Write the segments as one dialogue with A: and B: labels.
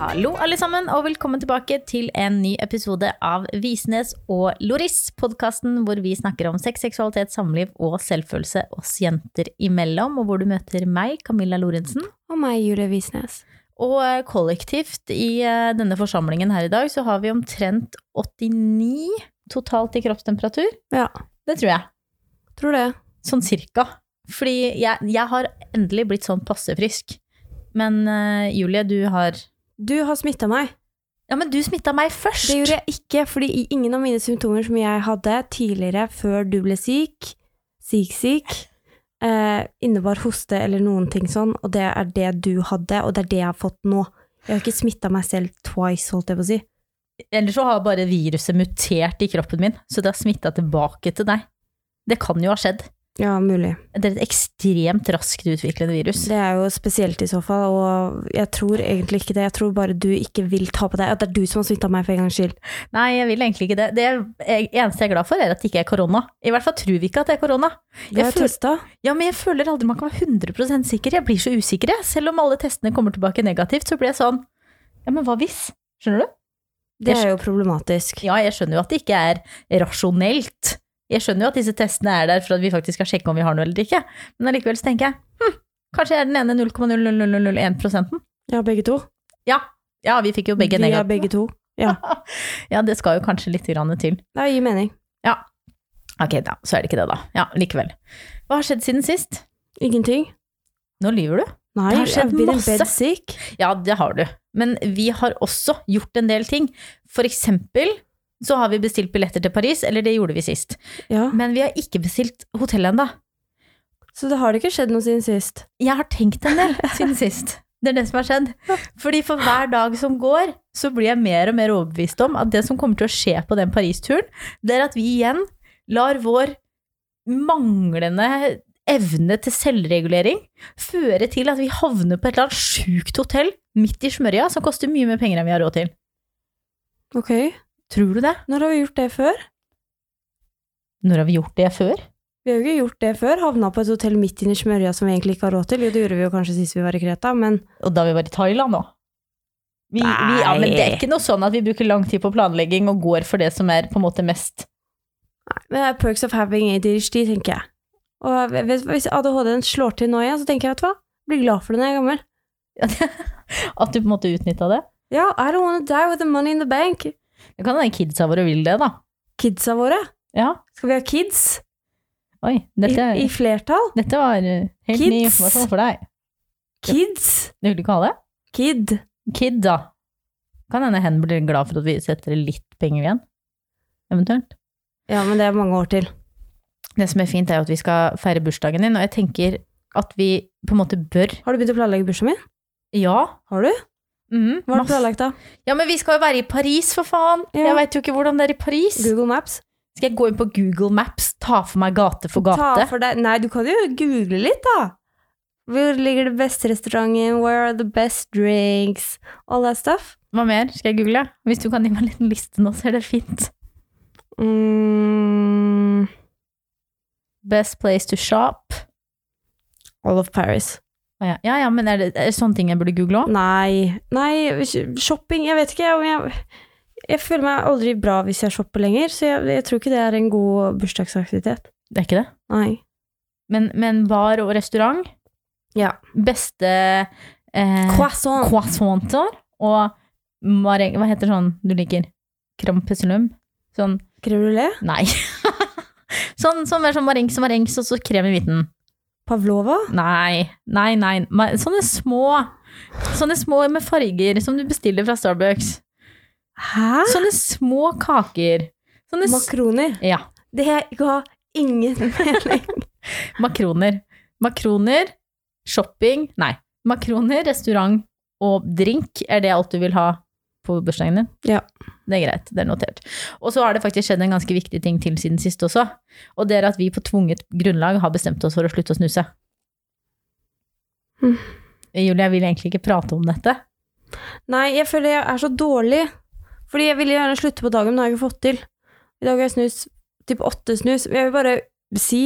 A: Hallo, alle sammen, og velkommen tilbake til en ny episode av Visnes og Loris, podkasten hvor vi snakker om sex, seksualitet, samliv og selvfølelse oss jenter imellom, og hvor du møter meg, Camilla Lorentzen.
B: Og meg, Julie Visnes.
A: Og eh, kollektivt i eh, denne forsamlingen her i dag så har vi omtrent 89 totalt i kroppstemperatur.
B: Ja.
A: Det tror jeg.
B: Tror det.
A: Sånn cirka. Fordi jeg, jeg har endelig blitt sånn passe frisk. Men eh, Julie, du har
B: Du har smitta meg.
A: Ja, men du smitta meg først!
B: Det gjorde jeg ikke, fordi i ingen av mine symptomer som jeg hadde tidligere før du ble syk, syk-syk, eh, innebar hoste eller noen ting sånn, og det er det du hadde, og det er det jeg har fått nå. Jeg har ikke smitta meg selv twice, holdt jeg på å si.
A: Eller så har bare viruset mutert i kroppen min, så det har smitta tilbake til deg. Det kan jo ha skjedd.
B: Ja, mulig.
A: Det er et ekstremt raskt utviklende virus.
B: Det er jo spesielt i så fall, og jeg tror egentlig ikke det. Jeg tror bare du ikke vil ta på deg at det er du som har smitta meg for en gangs skyld.
A: Nei, jeg vil egentlig ikke det. Det jeg- eneste jeg er glad for, er at det ikke er korona. I hvert fall tror vi ikke at det er korona.
B: Vi har
A: føler-
B: testa.
A: Ja, men jeg føler aldri man kan være 100 sikker. Jeg blir så usikker, jeg. Selv om alle testene kommer tilbake negativt, så blir jeg sånn Ja, men hva hvis? Skjønner du?
B: Det er jo problematisk.
A: Ja, jeg skjønner jo at det ikke er rasjonelt. Jeg skjønner jo at disse testene er der for at vi faktisk skal sjekke om vi har noe eller ikke. Men allikevel så tenker jeg hm, kanskje jeg er den ene 0,00001
B: Ja, begge to.
A: Ja. ja, vi fikk jo begge
B: Vi er
A: negative.
B: begge to.
A: Ja, det skal jo kanskje litt grann til.
B: Det gir mening.
A: Ok, da, så er det ikke det, da. Ja, likevel. Hva har skjedd siden sist?
B: Ingenting?
A: Nå lyver du.
B: Nei,
A: Det har skjedd
B: I've been in
A: masse.
B: bed sick.
A: Ja, det har du. Men vi har også gjort en del ting. For eksempel så har vi bestilt billetter til Paris, eller det gjorde vi sist.
B: Ja.
A: Men vi har ikke bestilt hotell ennå.
B: Så det har det ikke skjedd noe siden sist.
A: Jeg har tenkt en del siden sist. Det er det som har skjedd. Fordi for hver dag som går, så blir jeg mer og mer overbevist om at det som kommer til å skje på den Paris-turen, det er at vi igjen lar vår manglende evne til selvregulering føre til at vi havner på et eller annet sjukt hotell midt i smørja som koster mye mer penger enn vi har råd til.
B: Ok.
A: Tror du det?
B: Når har vi gjort det før?
A: Når har vi gjort det før?
B: Vi har jo ikke gjort det før. Havna på et hotell midt inne i smørja som vi egentlig ikke har råd til. Jo, det gjorde vi jo kanskje sist vi var i Kreta, men
A: Og da vi var i Thailand òg. Vi, vi, ja, men det er
B: Nei.
A: ikke noe sånn at vi bruker lang tid på planlegging og går for det som er på en måte mest
B: det er perks of having ADHD, tenker jeg. Og jeg vet- hvis ADHD-en slår til nå igjen, så tenker jeg, vet du hva, blir glad for det når jeg er gammel.
A: At du på en måte utnytta det?
B: Ja, I don't wanna die with the money in the bank.
A: Det kan hende kidsa våre vil det, da.
B: Kidsa våre.
A: Ja.
B: Skal vi ha kids?
A: Oi, dette,
B: I, I flertall?
A: dette var eh, helt ny
B: Kids.
A: informasjon for deg.
B: Kids?
A: Du vil ikke ha det?
B: Kid.
A: Kid, da. Kan hende hen blir glad for at vi setter litt penger igjen, eventuelt.
B: Ja, men det er mange år til.
A: Det som er fint, er jo at vi skal feire bursdagen din, og jeg tenker at vi på en måte bør
B: Har du begynt å planlegge bursdagen min?
A: Ja.
B: Har du?
A: Mm,
B: Hva har du
A: masse-
B: planlagt da?
A: Ja, men vi skal jo være i Paris, for faen!
B: Ja.
A: Jeg veit jo ikke hvordan det er i Paris.
B: Google Maps?
A: Skal jeg gå inn på Google Maps, ta for meg gate for
B: Ta
A: gate?
B: for deg Nei, du kan jo google litt, da. Hvor ligger det beste restauranten? Where are the best drinks? All that stuff.
A: Hva mer skal jeg google? Hvis du kan gi meg en liten liste nå, så er det fint.
B: Mm,
A: Best place to shop.
B: all of Paris.
A: Å Ja, ja, ja men er det, er det sånne ting jeg burde google òg?
B: Nei. Nei, sh- shopping Jeg vet ikke om jeg Jeg føler meg aldri bra hvis jeg shopper lenger, så jeg, jeg tror ikke det er en god bursdagsaktivitet.
A: Det er ikke det.
B: Nei.
A: Men, men bar og restaurant?
B: Ja.
A: Beste eh,
B: Croissant.
A: croissanter og mareng... Hva heter sånn du liker? Krampeslum? Sånn
B: Crème brûlée.
A: Nei. sånn som er sånn marengs og marengs, og så krem i midten.
B: Pavlova.
A: Nei, nei, nei. Ma- Sånne små, sånne små med farger som du bestiller fra Starbucks.
B: Hæ?
A: Sånne små kaker. Sånne s-
B: Makroner.
A: ja,
B: Det ga ingen mening.
A: makroner. Makroner, shopping Nei. Makroner, restaurant og drink. Er det alt du vil ha på bursdagen din.
B: Ja.
A: Det er greit, det er notert. Og så har det faktisk skjedd en ganske viktig ting til siden sist også. Og det er at vi på tvunget grunnlag har bestemt oss for å slutte å snuse.
B: Mm.
A: Julie, jeg vil egentlig ikke prate om dette.
B: Nei, jeg føler jeg er så dårlig. Fordi jeg ville gjerne slutte på dagen, men det har jeg ikke fått til. I dag har jeg snus, typ åtte snus. Men jeg vil bare si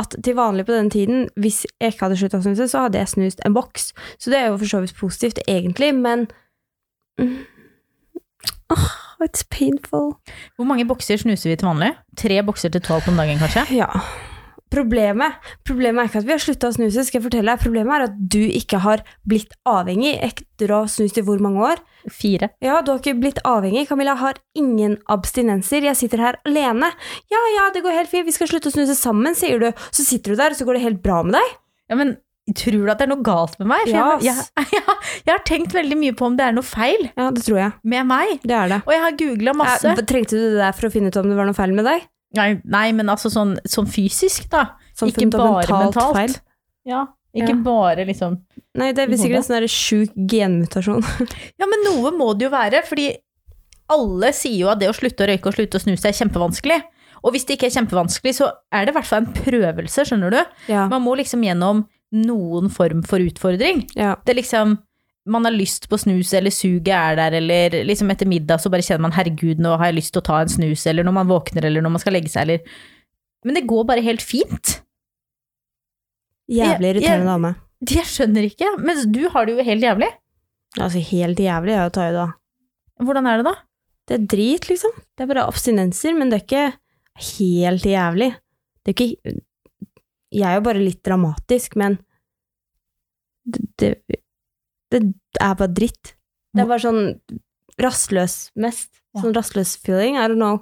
B: at til vanlig på denne tiden, hvis jeg ikke hadde slutta å snuse, så hadde jeg snust en boks. Så det er jo for så vidt positivt, egentlig, men mm. Åh, It's painful.
A: Hvor mange bokser snuser vi til vanlig? Tre bokser til tolv om dagen, kanskje?
B: Ja. Problemet, problemet er ikke at vi har slutta å snuse, skal jeg fortelle deg. Problemet er at du ikke har blitt avhengig etter å ha snust i hvor mange år?
A: Fire.
B: Ja, du har ikke blitt avhengig. Camilla har ingen abstinenser. Jeg sitter her alene. Ja, ja, det går helt fint. Vi skal slutte å snuse sammen, sier du. Så sitter du der, og så går det helt bra med deg.
A: Ja, men tror du at det er noe galt med meg? For jeg,
B: Ja,
A: jeg,
B: ass.
A: jeg, jeg har tenkt veldig mye på om det er noe feil
B: Ja, det tror jeg.
A: med meg.
B: Det er det.
A: Og jeg har googla masse.
B: Eh, Trengte du det der for å finne ut om det var noe feil med deg?
A: Nei, nei men altså sånn, sånn fysisk, da.
B: Sånn
A: ikke bare
B: fundamentalt
A: mentalt.
B: feil?
A: Ja, ikke
B: Ja.
A: bare liksom
B: Nei, det er visst sikkert en sånn der sjuk genmutasjon.
A: Ja, men noe må det jo være, fordi alle sier jo at det å slutte å røyke og slutte å snuse er kjempevanskelig. Og hvis det ikke er kjempevanskelig, så er det i hvert fall en prøvelse, skjønner du.
B: Ja.
A: Man må liksom gjennom noen form for utfordring.
B: ja.
A: Det er liksom man har lyst på snus, eller suget er der, eller liksom etter middag så bare kjenner man 'herregud, nå har jeg lyst til å ta en snus', eller når man våkner, eller når man skal legge seg, eller Men det går bare helt fint.
B: Jævlig
A: Jeg- jeg-
B: irriterende dame.
A: Jeg skjønner ikke. Mens du har det jo helt jævlig.
B: Altså, helt jævlig er jo Tayo, da.
A: Hvordan er det da?
B: Det er drit, liksom. Det er bare abstinenser, men det er ikke helt jævlig. Det er ikke Jeg er jo bare litt dramatisk, men det, det, det er bare dritt. Det er bare sånn rastløs mest.
A: Ja.
B: Sånn rastløs feeling. I don't know.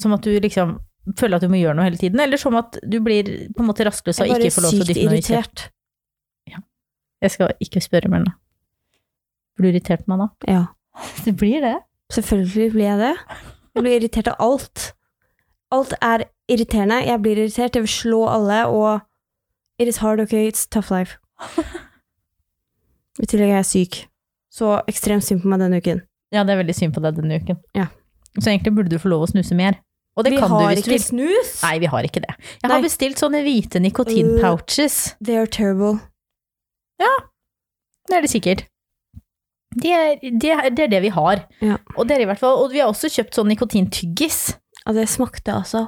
A: Som at du liksom føler at du må gjøre noe hele tiden, eller som at du blir på en måte rastløs og
B: Jeg er bare
A: ikke får lov til å
B: sykt
A: dytte noe i kjeft?
B: irritert.
A: Jeg skal ikke spørre mer nå. Blir du irritert på meg da?
B: Ja.
A: Det blir det.
B: Selvfølgelig blir jeg det. Jeg blir irritert av alt. Alt er irriterende. Jeg blir irritert. Jeg vil slå alle, og It is hard, ok? It's tough life. I tillegg er jeg syk. Så ekstremt synd på meg denne uken.
A: Ja, det er veldig synd på deg denne uken.
B: Ja.
A: Så egentlig burde du få lov å snuse mer. Og det
B: vi
A: kan du
B: har
A: hvis du
B: ikke
A: vil.
B: snus!
A: Nei, vi har ikke det. Jeg
B: Nei. Øh.
A: har bestilt sånne hvite nikotinpouches.
B: They are terrible.
A: Det er det sikkert. Det er det, er, det, er det vi har.
B: Ja.
A: Og det er i hvert fall, og vi har også kjøpt sånn nikotintyggis.
B: Og det smakte altså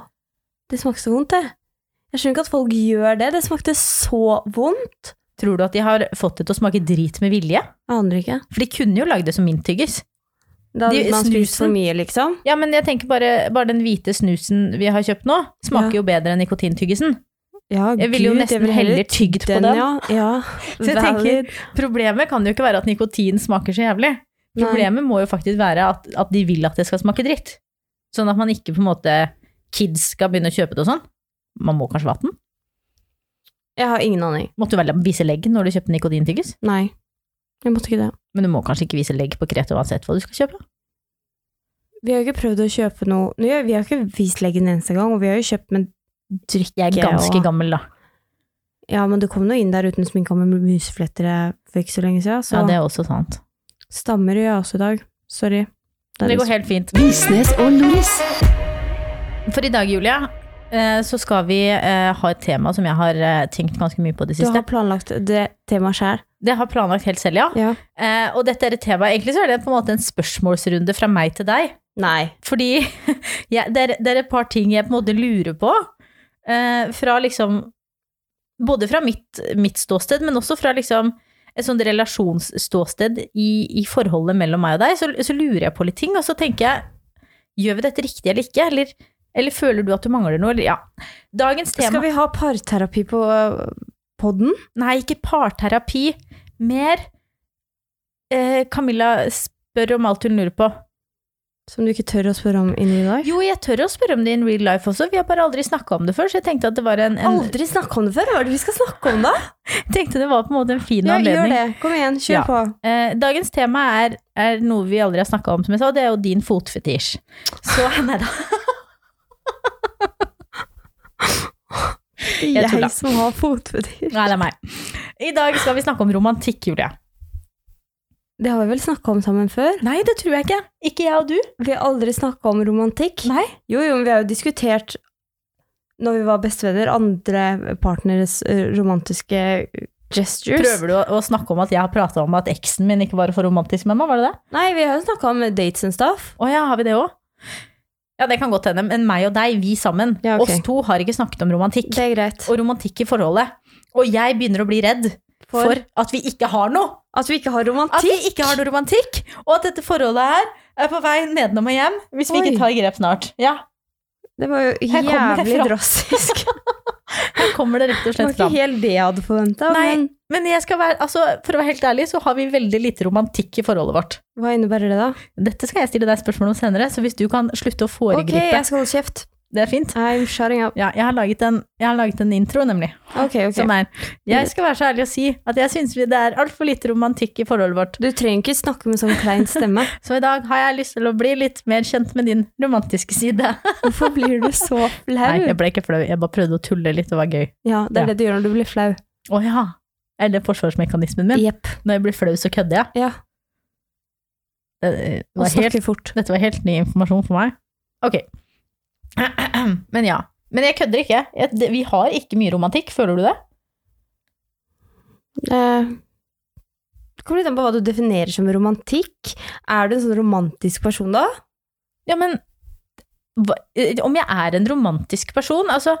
B: Det smakte så vondt, det. Jeg skjønner ikke at folk gjør det. Det smakte så vondt.
A: Tror du at de har fått det til å smake drit med vilje?
B: Aner ikke.
A: For de kunne jo lagd det som minttyggis.
B: Da
A: De-
B: hadde man spist
A: snusen-
B: for mye, liksom.
A: Ja, men jeg tenker bare, bare den hvite snusen vi har kjøpt nå, smaker jo bedre enn nikotintyggisen.
B: Ja,
A: Jeg ville jo
B: gud,
A: nesten
B: vil heller
A: heller tygd på den.
B: Ja, ja.
A: Så jeg
B: Valid.
A: tenker, problemet kan jo ikke være at nikotin smaker så jævlig.
B: Nei.
A: Problemet må jo faktisk være at, at de vil at det skal smake dritt. Sånn at man ikke på en måte kids skal begynne å kjøpe det og sånn. Man må kanskje vatten.
B: Jeg har ingen aning.
A: Måtte du vel vise legg når du kjøpte nikotintyggis?
B: Nei. Jeg måtte ikke det.
A: Men du må kanskje ikke vise legg på Kreta uansett hva du skal kjøpe.
B: Vi har jo ikke prøvd å kjøpe noe Nå, Vi har ikke vist leggen en eneste gang, og vi har jo kjøpt med drikke.
A: Jeg er ganske
B: og...
A: gammel, da.
B: Ja, men det kom noe inn der uten sminke og med musefletter eh, for ikke så lenge siden, så
A: Ja, det er også sant.
B: stammer gjør jeg også i dag. Sorry. Det er
A: Det går
B: litt-
A: helt fint.
C: Visnes og Loris.
A: For i dag, Julia, eh, så skal vi eh, ha et tema som jeg har eh, tenkt ganske mye på det
B: Du
A: siste.
B: har planlagt det temaet sjøl.
A: Det har jeg planlagt helt selv, ja.
B: Ja.
A: Eh, Og dette er et tema, egentlig så er det på en måte en spørsmålsrunde fra meg til deg.
B: Nei.
A: Fordi jeg- det, er, det er et par ting jeg på en måte lurer på. eh, Fra liksom Både fra mitt, mitt ståsted, men også fra liksom et sånt relasjonsståsted i, i forholdet mellom meg og deg. Så, så lurer jeg på litt ting, og så tenker jeg Gjør vi dette riktig eller ikke? Eller, eller føler du at du mangler noe? Eller, ja. Dagens tema
B: Skal vi ha parterapi på eh, poden?
A: Nei, ikke parterapi. Mer eh, Camilla spør om alt hun lurer på.
B: Som du ikke tør å spørre om inni dag?
A: Jo, jeg tør å spørre om det in real life også. Vi har bare aldri snakka om det før, så jeg tenkte at det var en, en
B: Aldri snakka om det før! Hva er det vi skal snakke om, da?
A: tenkte det var på en måte en fin
B: Ja, gjør
A: anledning.
B: det. Kom igjen, kjør
A: Ja.
B: på.
A: Eh, dagens tema er, er noe vi aldri har snakka om, som jeg sa, og det er jo din fotfetisj. Så nei da.
B: Jeg,
A: tuller.
B: som har fotfetisj.
A: Nei, det er meg. I dag skal vi snakke om romantikk, Julia.
B: Det har vi vel snakka om sammen før?
A: Nei, det tror jeg ikke. Ikke jeg og du.
B: Vi har aldri snakka om romantikk.
A: Nei.
B: Jo, jo, men vi har jo diskutert, når vi var bestevenner, andre partneres eh, romantiske gestures.
A: Prøver du å, å snakke om at jeg har prata om at eksen min ikke var for romantisk med meg? Var det det?
B: Nei, vi har jo snakka om dates and stuff.
A: Å ja, har vi det òg? Ja, det kan godt hende. Men meg og deg, vi sammen,
B: Ja, ok.
A: oss to har ikke snakket om romantikk.
B: Det er greit.
A: Og romantikk i forholdet. Og jeg begynner å bli redd for,
B: For
A: at vi ikke har noe.
B: at vi ikke har
A: At vi
B: romantikk.
A: ikke har noe romantikk. Og at dette forholdet her er på vei nedenom og hjem hvis vi
B: Oi.
A: ikke tar grep snart. Ja,
B: Det var jo
A: Her kommer det
B: jævlig
A: fra.
B: drastisk.
A: her kommer det rett og
B: Det var
A: slett
B: ikke
A: fram.
B: helt det jeg hadde forventa,
A: Nei.
B: men
A: Men jeg skal være, altså, for å være helt ærlig, så har vi veldig lite romantikk i forholdet vårt.
B: hva innebærer det, da?
A: Dette skal jeg stille deg spørsmål om senere, så hvis du kan slutte å
B: Ok,
A: foregripe
B: jeg skal holde kjeft.
A: Det er fint.
B: I'm shutting up.
A: Ja, jeg har laget en, jeg har laget en intro, nemlig.
B: Ok, ok.
A: Som er Jeg skal være så ærlig å si at jeg syns det er altfor lite romantikk i forholdet vårt.
B: Du trenger ikke snakke med sånn klein stemme.
A: Så i dag har jeg lyst til å bli litt mer kjent med din romantiske side.
B: Hvorfor blir du så
A: Nei, jeg
B: flau?
A: ble ikke flau, jeg bare prøvde å tulle litt og var gøy.
B: Ja,
A: Ja.
B: det er det du gjør når du blir flau.
A: Å ja. Er det forsvarsmekanismen min?
B: Jepp.
A: Når jeg blir flau, så kødder jeg.
B: Ja,
A: Det, det
B: og
A: var helt,
B: snakker fort.
A: dette var helt ny informasjon for meg. Ok. Men ja. Men jeg kødder ikke. Jeg, det, vi har ikke mye romantikk, føler du det?
B: Eh, Det kommer litt an på hva du definerer som romantikk. Er du en sånn romantisk person da?
A: Ja, men hva- eh, om jeg er en romantisk person Altså,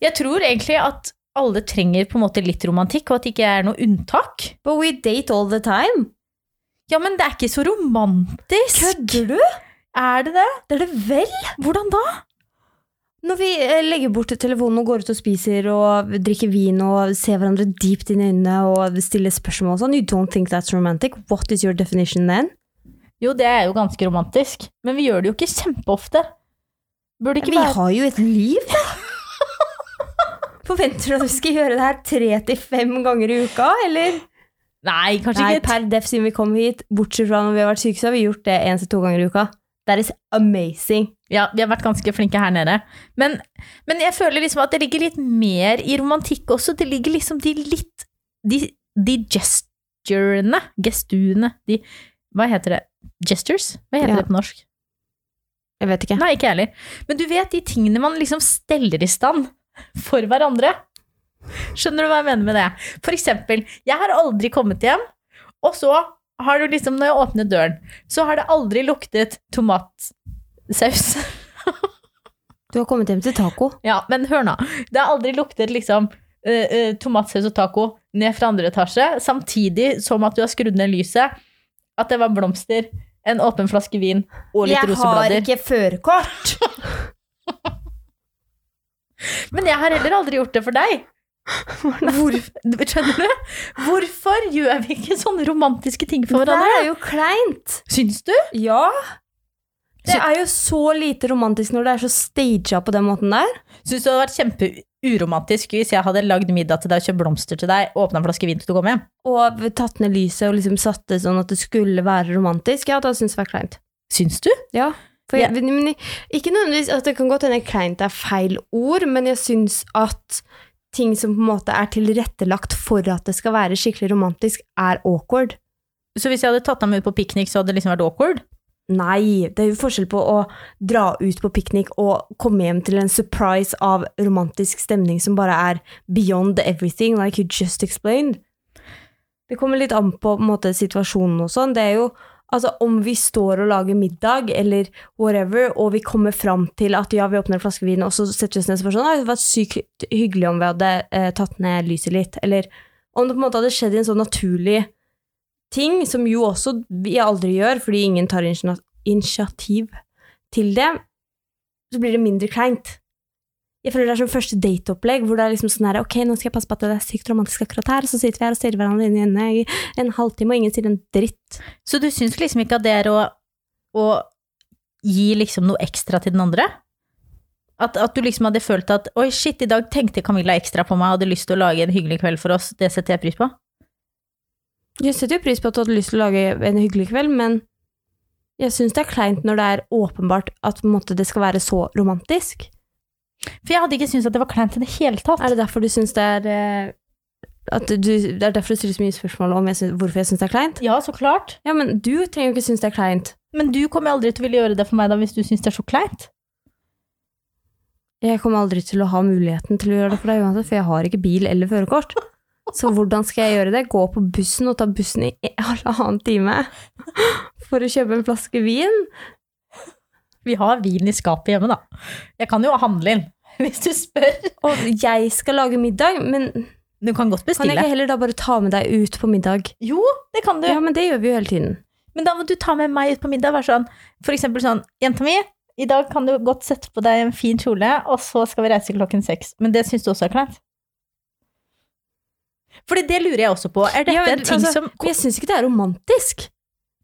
A: jeg tror egentlig at alle trenger på en måte litt romantikk, og at det ikke er noe unntak.
B: But we date all the time.
A: Ja, men det er ikke så romantisk.
B: Kødder du?
A: Er det det?
B: Det er det vel?
A: Hvordan da?
B: Når vi eh, legger bort telefonen og går ut og spiser og drikker vin og ser hverandre dypt inn i øynene og stiller spørsmål og sånn, you don't think that's romantic. What is your definition then?
A: Jo, det er jo ganske romantisk, men vi gjør det jo ikke kjempeofte. Burde ikke
B: Vi
A: være
B: har jo et liv, da! Forventer du at vi skal gjøre det her tre til fem ganger i uka, eller?
A: Nei, kanskje
B: Nei,
A: ikke.
B: per def siden vi kom hit, bortsett fra når vi har vært syke, så har vi gjort det én til to ganger i uka. That is amazing.
A: Ja, vi har vært ganske flinke her nede. Men, men jeg føler liksom at det ligger litt mer i romantikk også. Det ligger liksom de litt De, de gesturene Gestuene de, Hva heter det? Gestures? Hva heter
B: Ja.
A: det på norsk?
B: Jeg vet ikke.
A: Nei, ikke jeg heller. Men du vet de tingene man liksom steller i stand for hverandre. Skjønner du hva jeg mener med det? For eksempel, jeg har aldri kommet hjem, og så har du liksom, når jeg åpnet døren, så har det aldri luktet tomatsaus.
B: Du har kommet hjem til taco.
A: Ja, men hør nå. Det har aldri luktet liksom eh, eh, tomatsaus og taco ned fra andre etasje, samtidig som at du har skrudd ned lyset, at det var blomster, en åpen flaske vin og litt roseblader.
B: ikke førerkort!
A: Men jeg har heller aldri gjort det for deg. Hvorf- skjønner du? Hvorfor gjør vi ikke sånne romantiske ting for
B: Det
A: hverandre?
B: er jo kleint!
A: Syns du?
B: Ja. Det er jo så lite romantisk når det er så staged på den måten der.
A: Syns du det hadde vært kjempeuromantisk hvis jeg hadde lagd middag til deg, kjøpt blomster til deg, åpna en flaske vin til du kom hjem?
B: Og tatt ned lyset og liksom satt det sånn at det skulle være romantisk. Ja, da syns jeg det var kleint.
A: Syns du?
B: Ja. For jeg,
A: Ja.
B: men- men, ikke nødvendigvis at det kan godt hende kleint er feil ord, men jeg syns at ting som på en måte er tilrettelagt for at det skal være skikkelig romantisk, er awkward.
A: Så hvis jeg hadde tatt deg med ut på piknik, så hadde det liksom vært awkward?
B: Nei, det er jo forskjell på å dra ut på piknik og komme hjem til en surprise av romantisk stemning som bare er beyond everything, like you just explained. Det kommer litt an på, på en måte, situasjonen og sånn. Det er jo altså, om vi står og lager middag eller whatever, og vi kommer fram til at ja, vi åpner en flaske vin, og så setter vi oss ned og spør sånn «Nei, Det hadde vært sykt hyggelig om vi hadde eh, tatt ned lyset litt, eller om det på en måte hadde skjedd i en sånn naturlig ting, som jo også vi aldri gjør, fordi ingen tar initiativ initiativ til det, så blir det mindre kleint. Jeg føler det er som første dateopplegg, hvor det er liksom sånn her, ok, nå skal jeg passe på at det er sykt romantisk akkurat her, så sitter vi her og stirrer hverandre inn i øynene i en halvtime, og ingen sier en dritt.
A: Så du syns liksom ikke at det er å, å gi liksom noe ekstra til den andre? At, at du liksom hadde følt at oi, shit, i dag tenkte Camilla ekstra på meg og hadde lyst til å lage en hyggelig kveld for oss, det setter jeg pris på?
B: Jeg setter jo pris på at du hadde lyst til å lage en hyggelig kveld, men jeg syns det er kleint når det er åpenbart at på en måte, det skal være så romantisk.
A: For jeg hadde ikke syntes at det var kleint i det hele tatt.
B: Er det derfor du syns det er eh, At du, det er derfor du stiller så mye spørsmål om jeg syns- hvorfor jeg syns det er kleint.
A: Ja, så klart.
B: Ja, men du trenger jo ikke synes det er kleint.
A: Men du kommer aldri til å ville gjøre det for meg da hvis du syns det er så kleint.
B: Jeg kommer aldri til å ha muligheten til å gjøre det for deg uansett, for jeg har ikke bil eller førerkort. Så hvordan skal jeg gjøre det? Gå på bussen og ta bussen i en halvannen time for å kjøpe en flaske vin?
A: Vi har vin i skapet hjemme, da. Jeg kan jo handle inn hvis du spør.
B: Og jeg skal lage middag, men
A: Du kan godt
B: kan jeg
A: bestille.
B: ikke heller da bare ta med deg ut på middag?
A: Jo, det kan du.
B: Ja, men det gjør vi jo hele tiden.
A: Men da må du ta med meg ut på middag. Vær sånn, for eksempel sånn, jenta mi, i dag kan du godt sette på deg en fin kjole, og så skal vi reise klokken seks. Men det syns du også er kleint? Fordi det lurer jeg også på. Er dette
B: Ja, men
A: en ting
B: altså,
A: som
B: Men jeg syns ikke det er romantisk.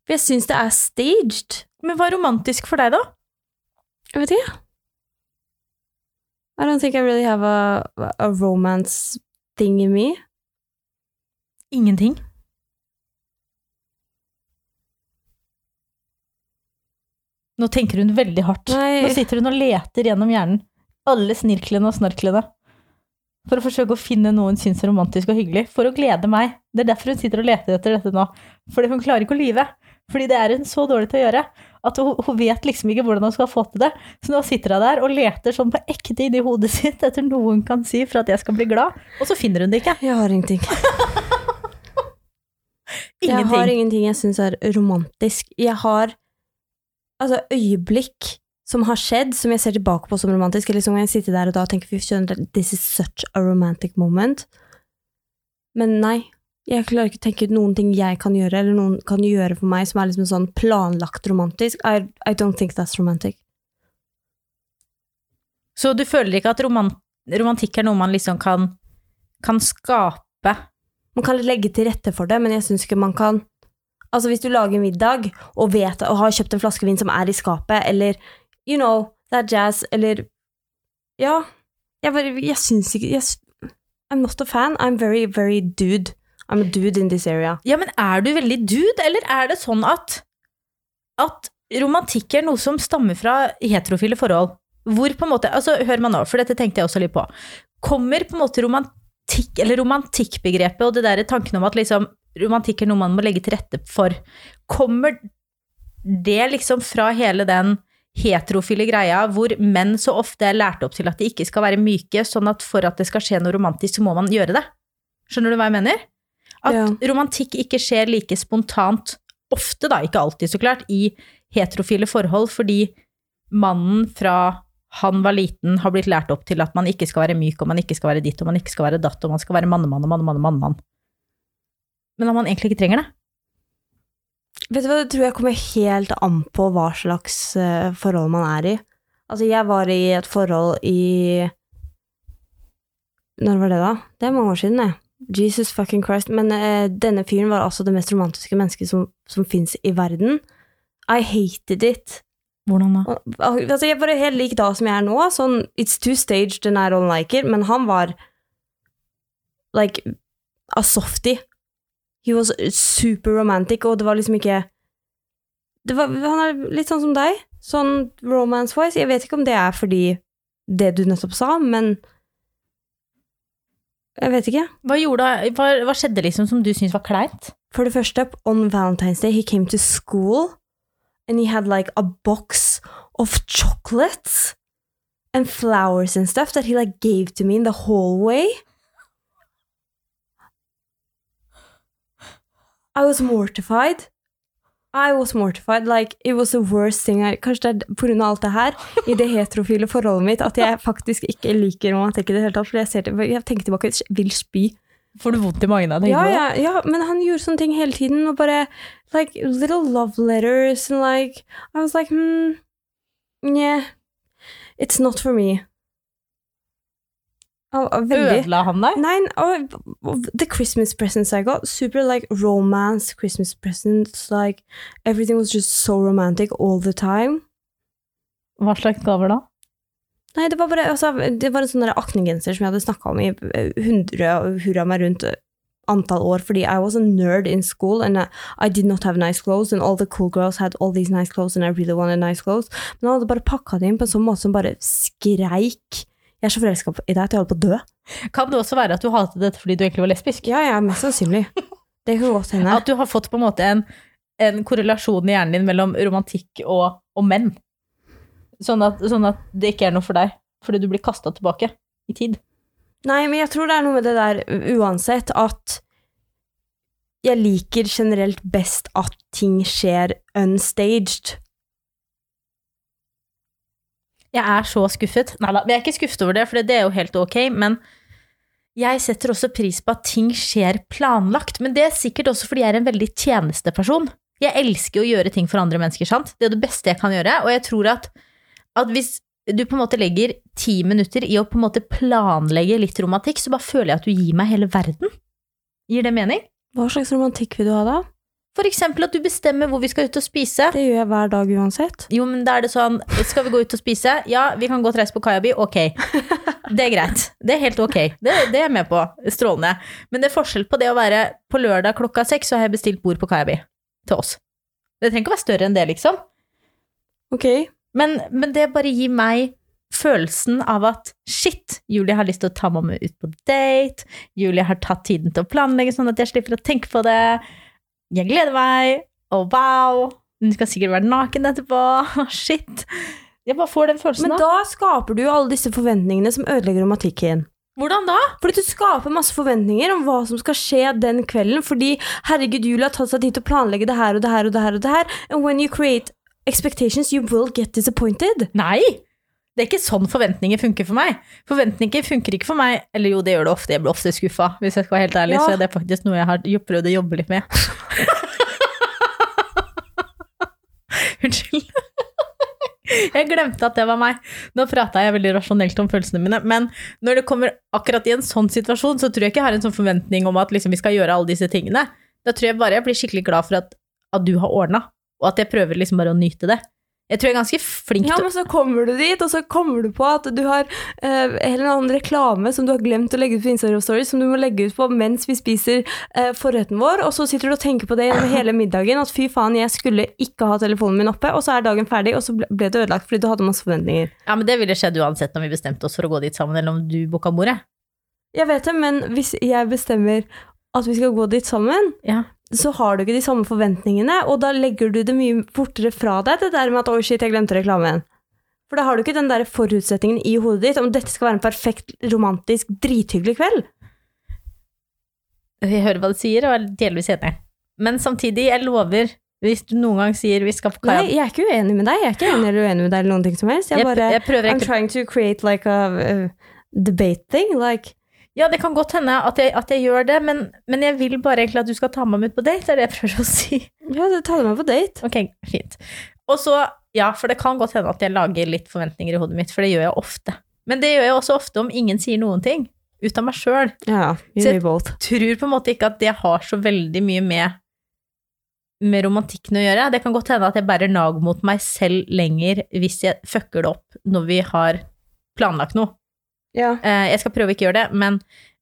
B: For Jeg syns det er staged.
A: Men hva er romantisk for deg, da?
B: Jeg vet ikke. I don't think I really have a, a romance thing in me.
A: Ingenting. Nå tenker hun veldig hardt. Nå
B: Nei,
A: sitter hun og leter gjennom hjernen. Alle snirklene og snorklene. For å forsøke å finne noe hun syns er romantisk og hyggelig. For å glede meg. Det er derfor hun sitter og leter etter dette nå. Fordi hun klarer ikke å lyve. Fordi det er hun så dårlig til å gjøre. At hun, hun vet liksom ikke hvordan hun skal få til det. Så nå sitter hun der og leter sånn på ekte inni hodet sitt etter noe hun kan si for at jeg skal bli glad. Og så finner hun det ikke.
B: jeg har ingenting. Jeg har
A: Ingenting.
B: ingenting jeg syns er romantisk. Jeg har altså, øyeblikk som har skjedd, som jeg ser tilbake på som romantisk, eller som jeg sitter der og da og tenker fy søren, this is such a romantic moment. Men nei. Jeg klarer ikke å tenke ut noen ting jeg kan gjøre, eller noen kan gjøre for meg som er liksom sånn planlagt romantisk. I, I don't think that's romantic.
A: Så du føler ikke at roman romantikk er noe man liksom kan, kan skape?
B: Man kan legge til rette for det, men jeg syns ikke man kan Altså, hvis du lager middag og, vet, og har kjøpt en flaske vin som er i skapet, eller you know, det er jazz, eller Ja. Jeg bare Jeg syns ikke jeg, s- I'm not a fan. I'm very, very dude. I'm a dude in this area.
A: Ja, men er du veldig dude, eller er det sånn at, at romantikk er noe som stammer fra heterofile forhold? Hvor på en måte, altså Hør meg nå, for dette tenkte jeg også litt på. Kommer på en måte romantikk, eller romantikkbegrepet og det der tanken om at liksom, romantikk er noe man må legge til rette for, kommer det liksom fra hele den heterofile greia hvor menn så ofte er lært opp til at de ikke skal være myke, sånn at for at det skal skje noe romantisk, så må man gjøre det? Skjønner du hva jeg mener? At
B: Ja.
A: romantikk ikke skjer like spontant ofte, da, ikke alltid så klart, i heterofile forhold, fordi mannen fra han var liten, har blitt lært opp til at man ikke skal være myk, og man ikke skal være ditt, og man ikke skal være datt, og man skal være mannemann og mannemann og mannemann. Men om man egentlig ikke trenger det?
B: Vet du hva, det tror jeg kommer helt an på hva slags eh, forhold man er i. Altså, jeg var i et forhold i Når var det, da? Det er mange år siden, det. Jesus fucking Christ. Men eh, denne fyren var altså det mest romantiske mennesket som, som fins i verden. I hated it.
A: Hvordan da?
B: Og- Altså, jeg bare helt lik da som jeg er nå. Sånn, it's too staged and I don't like it. Men han var like a softie. He was super romantic, og det var liksom ikke det var, Han er litt sånn som deg, sånn romance-wise. Jeg vet ikke om det er fordi det du nettopp sa, men Jeg vet ikke.
A: Hva, gjorde, hva, hva skjedde liksom som du syntes var kleint?
B: For det første, on Valentine's Day, he came to school, and he had like a box of chocolates and flowers and stuff that he like gave to me in the hallway. I was mortified. I was mortified. Like, it was the worst thing I Kanskje det er på grunn av alt det her, i det heterofile forholdet mitt, at jeg faktisk ikke liker romantikk i det hele tatt. For jeg, ser til, jeg tenker tilbake, jeg vil spy.
A: Får du vondt i magen av det?
B: Ja, ja, ja, men han gjorde sånne ting hele tiden, og bare like little love letters, and like I was like, hmm, yeah, it's not for me. Og- og veldig.
A: Ødela han deg?
B: Nei, og, og the Christmas presents I got, super like romance Christmas presents, like everything was just so romantic all the time.
A: Hva slags gaver da?
B: Nei, det var bare altså, Det var en sånn der aknegenser som jeg hadde snakka om i eh, hundre og hurra meg rundt eh, antall år, fordi I was a nerd in school, and I, I did not have nice clothes, and all the cool girls had all these nice clothes, and I really wanted nice clothes. Men han hadde bare pakka det inn på en sånn måte som bare skreik. Jeg Jeg er så forelska i deg at jeg holder på å dø.
A: Kan det også være at du hatet dette fordi du egentlig var lesbisk?
B: Ja, ja, mest sannsynlig. Det kan godt hende.
A: At du har fått på en måte en, en korrelasjon i hjernen din mellom romantikk og, og menn. Sånn at, sånn at det ikke er noe for deg, fordi du blir kasta tilbake i tid.
B: Nei, men jeg tror det er noe med det der u- uansett at jeg liker generelt best at ting skjer unstaged.
A: Jeg er så skuffet. Nei da, jeg er ikke skuffet over det, for det er jo helt ok, men jeg setter også pris på at ting skjer planlagt. Men det er sikkert også fordi jeg er en veldig tjenesteperson. Jeg elsker å gjøre ting for andre mennesker, sant? Det er det beste jeg kan gjøre, og jeg tror at, at hvis du på en måte legger ti minutter i å på en måte planlegge litt romantikk, så bare føler jeg at du gir meg hele verden. Gir det mening?
B: Hva slags romantikk vil du ha da?
A: For eksempel at du bestemmer hvor vi skal ut og spise.
B: Det gjør jeg hver dag uansett.
A: Jo, men da er det sånn Skal vi gå ut og spise? Ja, vi kan godt reise på Kajaby. Ok. Det er greit. Det er helt ok. Det, det er jeg med på. Strålende. Men det er forskjell på det å være på lørdag klokka seks, så har jeg bestilt bord på Kajaby til oss. Det trenger ikke å være større enn det, liksom.
B: Ok.
A: Men, men det bare gir meg følelsen av at shit, Julie har lyst til å ta mamma ut på date. Julie har tatt tiden til å planlegge sånn at jeg slipper å tenke på det. Jeg gleder meg. Og wow. Hun skal sikkert være naken etterpå. Shit. Jeg bare får den følelsen
B: Men
A: da.
B: da skaper du jo alle disse forventningene som ødelegger romantikken.
A: Hvordan da?
B: Fordi du skaper masse forventninger om hva som skal skje den kvelden. Fordi herregud, Julie har tatt seg tid til å planlegge det her og det her og det her. og det her. And when you create expectations, you will get disappointed.
A: Nei! Det er ikke sånn forventninger funker for meg. Forventninger funker ikke for meg. Eller jo, det gjør det ofte. Jeg blir ofte skuffa. Hvis jeg skal være helt ærlig,
B: Ja.
A: så er det faktisk noe jeg har jo- prøvd å jobbe litt med. Unnskyld. Jeg glemte at det var meg. Nå prata jeg veldig rasjonelt om følelsene mine. Men når det kommer akkurat i en sånn situasjon, så tror jeg ikke jeg har en sånn forventning om at liksom, vi skal gjøre alle disse tingene. Da tror jeg bare jeg blir skikkelig glad for at, at du har ordna, og at jeg prøver liksom bare å nyte det. Jeg tror jeg er ganske flink
B: Ja,
A: til å
B: men så kommer du dit, og så kommer du på at du har eh, en eller annen reklame som du har glemt å legge ut på Instagram Stories, som du må legge ut på mens vi spiser eh, forretten vår, og så sitter du og tenker på det gjennom hele middagen, at fy faen, jeg skulle ikke ha telefonen min oppe, og så er dagen ferdig, og så ble ble det ødelagt fordi du hadde masse forventninger.
A: Ja, men Det ville skjedd uansett om vi bestemte oss for å gå dit sammen, eller om du booka bordet.
B: Jeg vet det, men hvis jeg bestemmer at vi skal gå dit sammen,
A: Ja.
B: så har du ikke de samme forventningene, og da legger du det mye fortere fra deg, det der med at 'oi, shit, jeg glemte reklamen'. For da har du ikke den der forutsetningen i hodet ditt om dette skal være en perfekt, romantisk, drithyggelig kveld.
A: Jeg hører hva du sier, og er delvis enig. Men samtidig, jeg lover, hvis du noen gang sier vi skal på kajakk
B: Nei, jeg er ikke uenig med deg. Jeg er ikke enig eller uenig med deg eller noen ting som helst. Jeg
A: jeg,
B: bare
A: jeg prøver
B: I'm
A: ikke
B: trying to create like a uh, debate thing. Like
A: Ja, det kan godt hende at jeg, at jeg gjør det, men, men jeg vil bare egentlig at du skal ta med meg ut på date, er det jeg prøver å si.
B: Ja, det tar du meg på date.
A: Ok, fint. Og så, ja, for det kan godt hende at jeg lager litt forventninger i hodet mitt, for det gjør jeg ofte. Men det gjør jeg også ofte om ingen sier noen ting. Ut av meg sjøl.
B: Ja, you
A: Så-
B: do both.
A: tror på en måte ikke at det har så veldig mye med, med romantikken å gjøre. Det kan godt hende at jeg bærer nag mot meg selv lenger hvis jeg fucker det opp når vi har planlagt noe.
B: Ja.
A: Eh, jeg skal prøve å ikke gjøre det, men,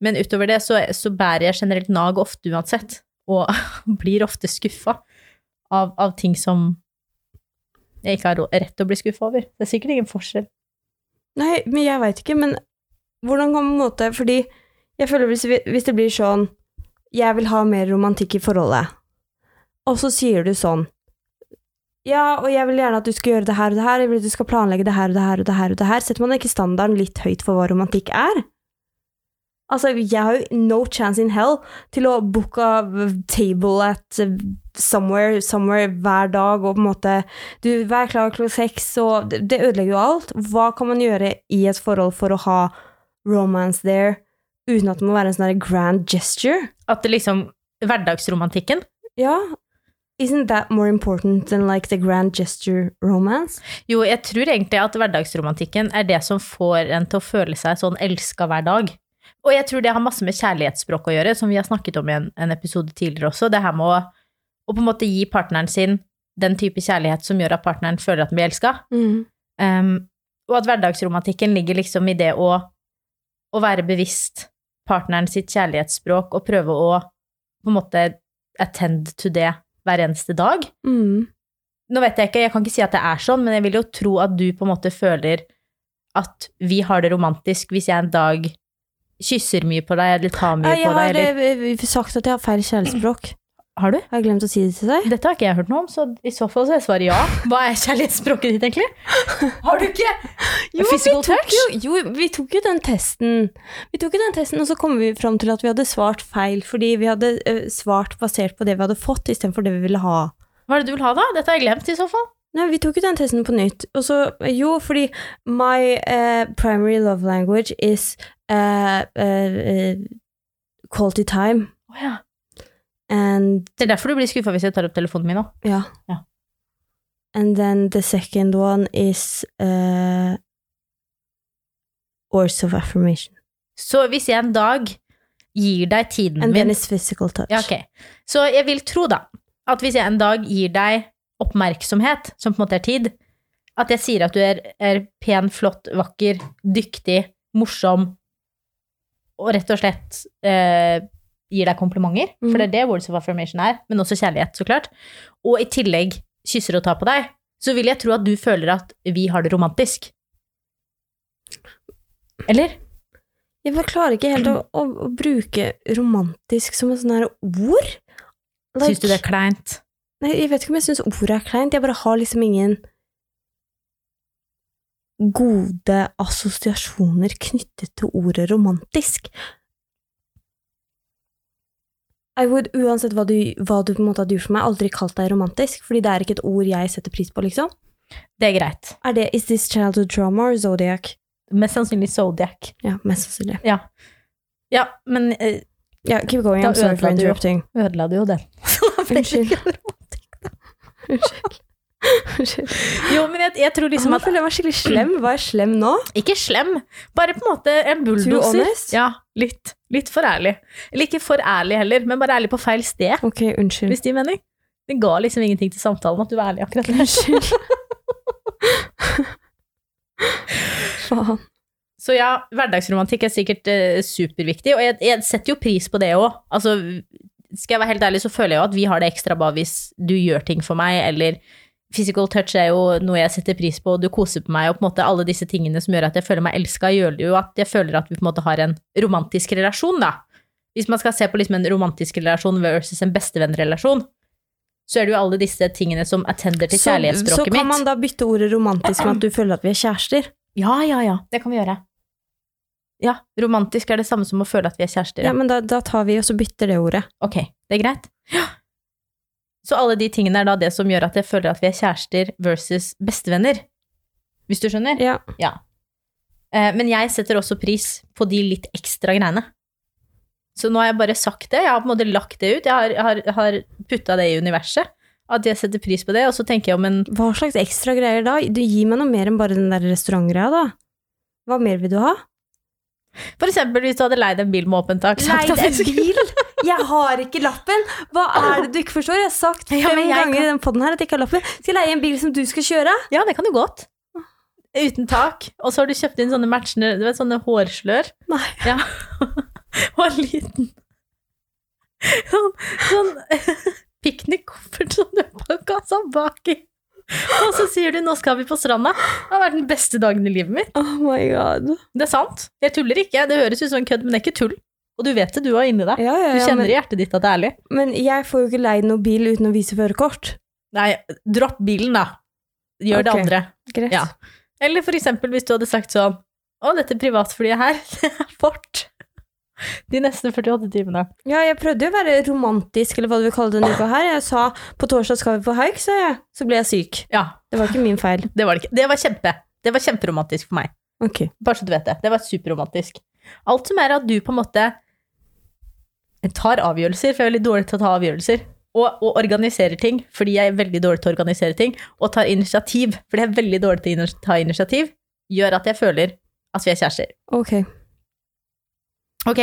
A: men utover det så, så bærer jeg generelt nag ofte uansett, og blir ofte skuffa av, av ting som jeg ikke har rå- rett til å bli skuffa over. Det er sikkert ingen forskjell.
B: Nei, men jeg veit ikke, men hvordan kan man måte Fordi jeg føler hvis, vi- hvis det blir sånn Jeg vil ha mer romantikk i forholdet, og så sier du sånn Ja, og jeg vil gjerne at du skal gjøre det her og det her, jeg vil at du skal planlegge det her og det her og det her, og det her. Setter man ikke standarden litt høyt for hva romantikk er? Altså, jeg har jo no chance in hell til å booke a table at somewhere, somewhere hver dag, og på en måte du, vær klar klokka seks, og det, det ødelegger jo alt. Hva kan man gjøre i et forhold for å ha romance there, uten at det må være en sånn der grand gesture?
A: At det liksom Hverdagsromantikken
B: Ja, isn't that more important than like the grand gesture romance?
A: Jo, jeg tror egentlig at hverdagsromantikken er det som får en til å føle seg sånn elska hver dag. Og jeg tror det har masse med kjærlighetsspråk å gjøre, som vi har snakket om i en, en episode tidligere også. Det her med å, å på en måte gi partneren sin den type kjærlighet som gjør at partneren føler at den blir elska.
B: Mm.
A: Um, og at hverdagsromantikken ligger liksom i det å, å være bevisst partneren sitt kjærlighetsspråk og prøve å på en måte attend to det hver eneste dag.
B: Mm.
A: Nå vet jeg ikke, jeg kan ikke si at det er sånn, men jeg vil jo tro at du på en måte føler at vi har det romantisk hvis jeg en dag kysser mye på deg eller tar mye
B: Nei, Jeg
A: på deg?
B: har
A: Eller...
B: eh, sagt at jeg har feil kjærlighetsspråk.
A: Har du?
B: Har jeg glemt å si det til deg?
A: Dette har ikke jeg hørt noe om, så i så fall så er svaret ja. Hva er kjærlighetsspråket ditt, egentlig? Har du ikke? Physical touch?
B: Jo, jo, vi tok jo den testen. Vi tok jo den testen, Og så kom vi fram til at vi hadde svart feil, fordi vi hadde eh, svart basert på det vi hadde fått, istedenfor det vi ville ha.
A: Hva er det du vil ha, da? Dette har jeg glemt, i så fall.
B: Nei, vi tok jo den testen på nytt. Og så, jo, fordi my eh, primary love language is eh, eh, eh, quality time.
A: Å ja.
B: And,
A: Det er derfor du blir skuffa hvis jeg tar opp telefonen min nå.
B: ja.
A: Ja.
B: And then the second one is eh, words of affirmation.
A: Så hvis jeg en dag gir deg tiden
B: And then
A: min
B: it's physical touch.
A: Mhm. ja, ok. Så jeg vil tro, da, at hvis jeg en dag gir deg oppmerksomhet, som på en måte er tid, at jeg sier at du er, er pen, flott, vakker, dyktig, morsom, og rett og slett eh, gir deg komplimenter, for det er det words of affirmation er, men også kjærlighet, så klart, og i tillegg kysser og tar på deg, så vil jeg tro at du føler at vi har det romantisk. Eller?
B: Jeg bare klarer ikke helt å, å, å bruke romantisk som et sånt her ord.
A: Syns du det er kleint?
B: Nei, jeg vet ikke om jeg syns ordet er kleint. Jeg bare har liksom ingen gode assosiasjoner knyttet til ordet romantisk. I would, uansett hva du, hva du på en måte hadde gjort for meg, aldri kalt deg romantisk, fordi det er ikke et ord jeg setter pris på, liksom.
A: Det er greit.
B: Er det Is this childhood drama or Zodiac?
A: Mest sannsynlig Zodiac.
B: Ja, mest sannsynlig.
A: Ja. ja, men eh,
B: Ja, keep going,
A: Da
B: I'm sorry for
A: ødela du jo.
B: interrupting.
A: ødela du jo den. Så da ble det
B: Unnskyld.
A: ikke noe romantisk.
B: Unnskyld. Unnskyld.
A: Jo, men jeg, jeg tror liksom
B: Nå
A: at
B: føler jeg meg skikkelig slem. Var jeg slem nå?
A: Ikke slem, bare på en måte en
B: Too
A: bulldoser.
B: honest?
A: Ja, litt. Litt for ærlig. Eller ikke for ærlig heller, men bare ærlig på feil sted,
B: Ok, unnskyld.
A: hvis det gir mening. Det ga liksom ingenting til samtalen at du var ærlig akkurat der.
B: Unnskyld. Faen.
A: Så ja, hverdagsromantikk er sikkert eh, superviktig, og jeg, jeg setter jo pris på det òg. Altså, skal jeg være helt ærlig, så føler jeg jo at vi har det ekstra bra hvis du gjør ting for meg, eller physical touch er jo noe jeg setter pris på, og du koser på meg, og på en måte alle disse tingene som gjør at jeg føler meg elska, gjør det jo at jeg føler at vi på en måte har en romantisk relasjon, da. Hvis man skal se på liksom en romantisk relasjon versus en bestevennrelasjon, så er det jo alle disse tingene som attender til
B: Så, så
A: kjærlighetsspråket
B: kan man
A: mitt.
B: da bytte ordet romantisk med at du føler at vi er kjærester.
A: Ja, ja, ja. Det kan vi gjøre. Ja, romantisk er det samme som å føle at vi er kjærester.
B: Ja, men da, da tar vi og så bytter det ordet.
A: Ok, det er greit. Så alle de tingene er da det som gjør at jeg føler at vi er kjærester versus bestevenner. Hvis du skjønner?
B: Ja.
A: Eh, Men jeg setter også pris på de litt ekstra greiene. Så nå har jeg bare sagt det. Jeg har på en måte lagt det ut. Jeg har, har, har putta det i universet. At jeg setter pris på det. Og så tenker jeg om en
B: Hva slags ekstra greier da? Du gir meg noe mer enn bare den der restaurantgreia, da. Hva mer vil du ha?
A: For eksempel hvis du hadde leid en bil med åpent tak. sagt at jeg skulle-
B: bil! Jeg har ikke lappen! Hva er det du ikke forstår? Jeg har sagt fem
A: Ja, men jeg
B: ganger i den podden her at jeg ikke har lappen. Skal jeg leie en bil som du skal kjøre?
A: Ja, det kan du godt.
B: Ah.
A: Uten tak. Og så har du kjøpt inn sånne matchende du vet, sånne hårslør.
B: Nei.
A: Ja. Og en liten sånn, sånn piknikkoffert som du har kassa bak i. Og så sier du 'nå skal vi på stranda'. Det har vært den beste dagen i livet mitt.
B: Oh my god.
A: Det er sant. Jeg tuller ikke. Det høres ut som en kødd, men det er ikke tull. Og du vet det, du er inni deg.
B: Ja, ja,
A: Du
B: ja,
A: kjenner
B: men-
A: i hjertet ditt at det er ærlig.
B: Men jeg får jo ikke leid noen bil uten å vise førerkort.
A: Nei, dropp bilen, da. Gjør det
B: Ok.
A: andre.
B: Greit.
A: Ja. Eller for eksempel hvis du hadde sagt sånn Å, dette privatflyet her, det er vårt. De neste 48 timene.
B: Ja, jeg prøvde jo å være romantisk, eller hva du vil kalle det denne uka her. Jeg sa på torsdag skal vi på haik, sa jeg. Så ble jeg syk.
A: Ja,
B: Det var ikke min feil.
A: det var det ikke. Det var kjempe. Det var kjemperomantisk for meg.
B: Ok.
A: Bare så du vet det. Det var superromantisk. Alt som er at du på en måte tar avgjørelser, for jeg er veldig dårlig til å ta avgjørelser, og, og organiserer ting, fordi jeg er veldig dårlig til å organisere ting, og tar initiativ, fordi jeg er veldig dårlig til å inno- ta initiativ, gjør at jeg føler at vi er kjærester.
B: Ok.
A: Ok,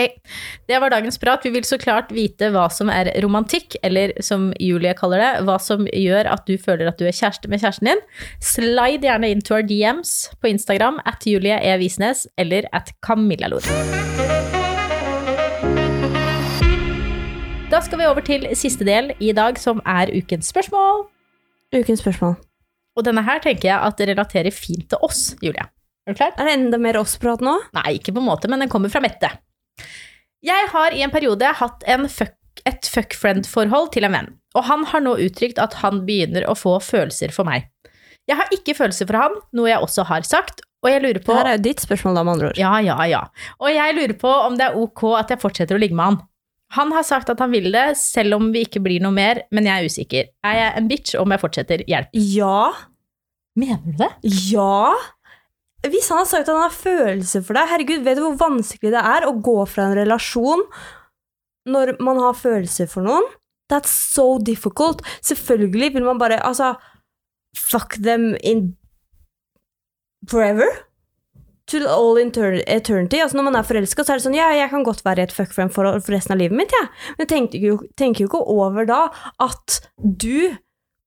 A: det var dagens prat. Vi vil så klart vite hva som er romantikk, eller som Julie kaller det, hva som gjør at du føler at du er kjæreste med kjæresten din. Slide gjerne inn to our DMs på Instagram, at Julie E. Visnes, eller at Camilla Lor. Da skal vi over til siste del i dag, som er ukens spørsmål.
B: Ukens spørsmål.
A: Og denne her tenker jeg at relaterer fint til oss, Julie. Er Er du klar?
B: Er det enda mer oss-prat nå?
A: Nei, ikke på en måte, men den kommer fra Mette. Jeg har i en periode hatt en fuck, et fuck-friend-forhold til en venn, og han har nå uttrykt at han begynner å få følelser for meg. Jeg har ikke følelser for han, noe jeg også har sagt, og jeg lurer på
B: Det her er jo ditt spørsmål, da, med andre ord.
A: Ja, ja, ja. Og jeg lurer på om det er ok at jeg fortsetter å ligge med han. Han har sagt at han vil det, selv om vi ikke blir noe mer, men jeg er usikker. Er jeg en bitch om jeg fortsetter? Hjelp.
B: Ja.
A: Mener du det?
B: Ja. Hvis han har sagt at han har følelser for deg, herregud, vet du hvor vanskelig det er å gå fra en relasjon når man har følelser for noen? That's so difficult. Selvfølgelig vil man bare Altså, fuck them in forever. To all inter- eternity. Altså Når man er forelska, så er det sånn Ja, jeg kan godt være i et fuck friend forhold for resten av livet mitt, jeg. Ja. Men jeg tenker jo, tenker jo ikke over da at du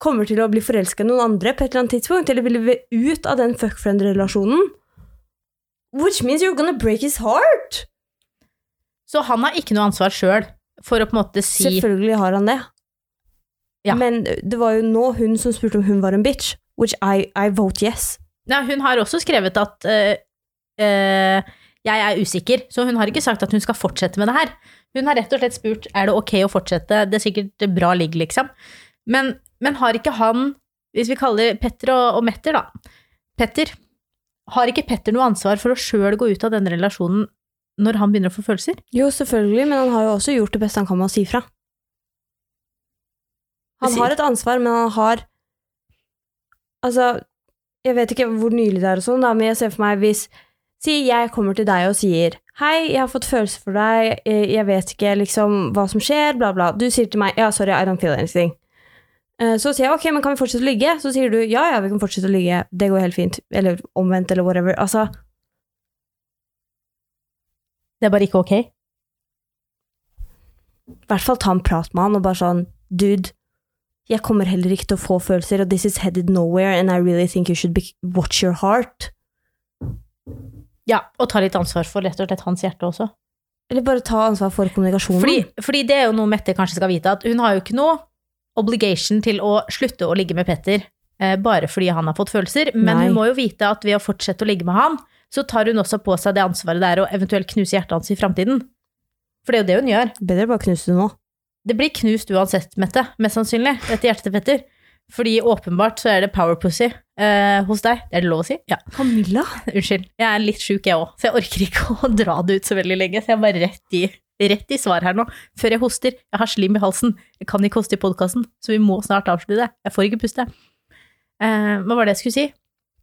B: kommer til å bli forelska i noen andre på et eller annet tidspunkt, eller vil leve ut av den fuckfriend-relasjonen. Which means you're gonna break his heart!
A: Så han har ikke noe ansvar sjøl for å på en måte si
B: Selvfølgelig har han det.
A: Ja.
B: Men det var jo nå hun som spurte om hun var en bitch. Which I, I vote yes.
A: Ja, hun har også skrevet at eh, eh, jeg er usikker, så hun har ikke sagt at hun skal fortsette med det her. Hun har rett og slett spurt er det ok å fortsette, det er sikkert bra ligg, liksom. Men, men har ikke han, hvis vi kaller Petter og, og Metter, da Petter, har ikke Petter noe ansvar for å sjøl gå ut av denne relasjonen når han begynner å få følelser?
B: Jo, selvfølgelig, men han har jo også gjort det beste han kan med å si fra. Han
A: Si-
B: har et ansvar, men han har Altså, jeg vet ikke hvor nylig det er og sånn, da, men jeg ser for meg hvis Si jeg kommer til deg og sier Hei, jeg har fått følelser for deg, jeg jeg vet ikke liksom hva som skjer, bla, bla. Du sier til meg Ja, sorry, I don't feel anything. Eh, Så sier jeg ok, men kan vi fortsette å ligge? Så sier du ja, ja, vi kan fortsette å ligge, det går helt fint. Eller omvendt, eller whatever. Altså,
A: Det er bare ikke ok.
B: i hvert fall ta en prat med han og bare sånn Dude, jeg kommer heller ikke til å få følelser, og this is headed nowhere, and I really think you should be watch your heart.
A: Ja, og ta litt ansvar for rett og slett hans hjerte også.
B: Eller bare ta ansvar for kommunikasjonen.
A: Fordi, fordi det er jo noe Mette kanskje skal vite, at hun har jo ikke noe obligation til å slutte å ligge med Petter eh, bare fordi han har fått følelser, men
B: Nei.
A: hun må jo vite at ved å fortsette å ligge med han, så tar hun også på seg det ansvaret der og eventuelt knuse hjertet hans i framtiden. For det er jo det hun gjør.
B: Bedre bare knuse det nå.
A: Det blir knust uansett, Mette, mest sannsynlig, dette hjertet til Petter. Fordi åpenbart så er det power pussy eh, hos deg. Er det lov å si? Ja.
B: Camilla?
A: Unnskyld. Jeg er litt sjuk, jeg òg, så jeg orker ikke å dra det ut så veldig lenge. Så jeg er bare rett i, rett i svar her nå. Før jeg hoster. Jeg har slim i halsen. Jeg kan ikke hoste i podkasten, så vi må snart avslutte det. Jeg får ikke puste. Eh, hva var det jeg skulle si?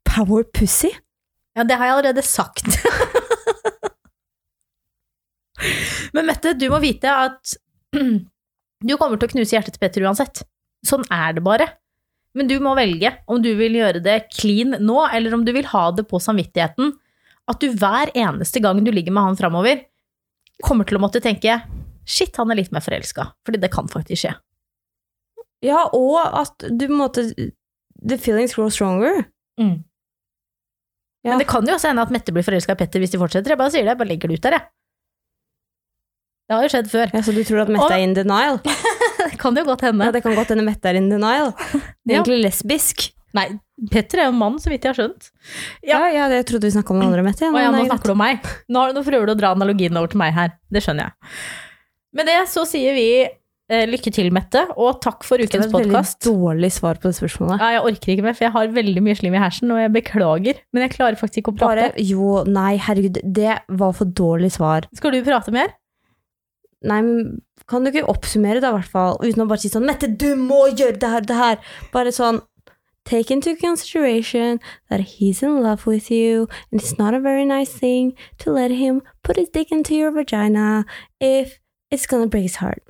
B: Power pussy?
A: Ja, det har jeg allerede sagt. Men Mette, du må vite at du kommer til å knuse hjertet til Petter uansett. Sånn er det bare. Men du må velge om du vil gjøre det clean nå, eller om du vil ha det på samvittigheten at du hver eneste gang du ligger med han framover, kommer til å måtte tenke Shit, han er litt mer forelska. Fordi det kan faktisk skje.
B: Ja, og at du på en måte The feelings grow stronger. Ja.
A: Mm. Men det kan jo også hende at Mette blir forelska i Petter hvis de fortsetter. Jeg bare sier det. Jeg bare legger det ut der, jeg. Det har jo skjedd før.
B: Ja, Så du tror at Mette
A: Og-
B: er in denial?
A: Det kan jo godt hende.
B: Ja, det kan godt hende Mette er in denial. Det er
A: Ja.
B: egentlig lesbisk.
A: Nei, Petter er jo en mann, så vidt jeg har skjønt. Ja.
B: Ja, ja, det jeg trodde vi snakka om den andre Mette. ja,
A: Å ja, nå
B: men det er greit.
A: snakker du om meg. Nå, har- nå prøver du å dra analogien over til meg her. Det skjønner jeg. Med det så sier vi eh, lykke til, Mette, og takk for
B: Det var
A: ukens
B: et veldig
A: podkast.
B: dårlig svar på det spørsmålet.
A: Ja, jeg orker ikke mer, for jeg har veldig mye slim i hersen, og jeg beklager, men jeg klarer faktisk ikke å prate.
B: Bare Jo, nei, herregud, det var for dårlig svar.
A: Skal du prate mer?
B: Nei, men kan du ikke oppsummere, da, i hvert fall? Uten å bare si sånn Mette, du må gjøre det her, det her! Bare sånn Take into consideration that he's in love with you, and it's not a very nice thing to let him put his dick into your vagina if it's gonna break his heart.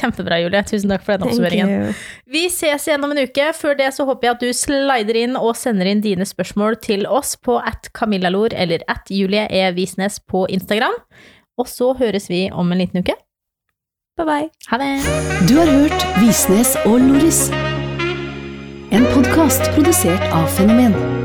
A: Kjempebra, Julie. Tusen takk for den
B: Thank
A: oppsummeringen.
B: you.
A: Vi ses igjen om en uke. Før det så håper jeg at du slider inn og sender inn dine spørsmål til oss på at camillalor eller at Julie E. Visnes på Instagram. Og så høres vi om en liten uke.
B: Bye bye.
A: Ha det!
C: Du har hørt Visnes og Loris. En podkast produsert av Fenomen.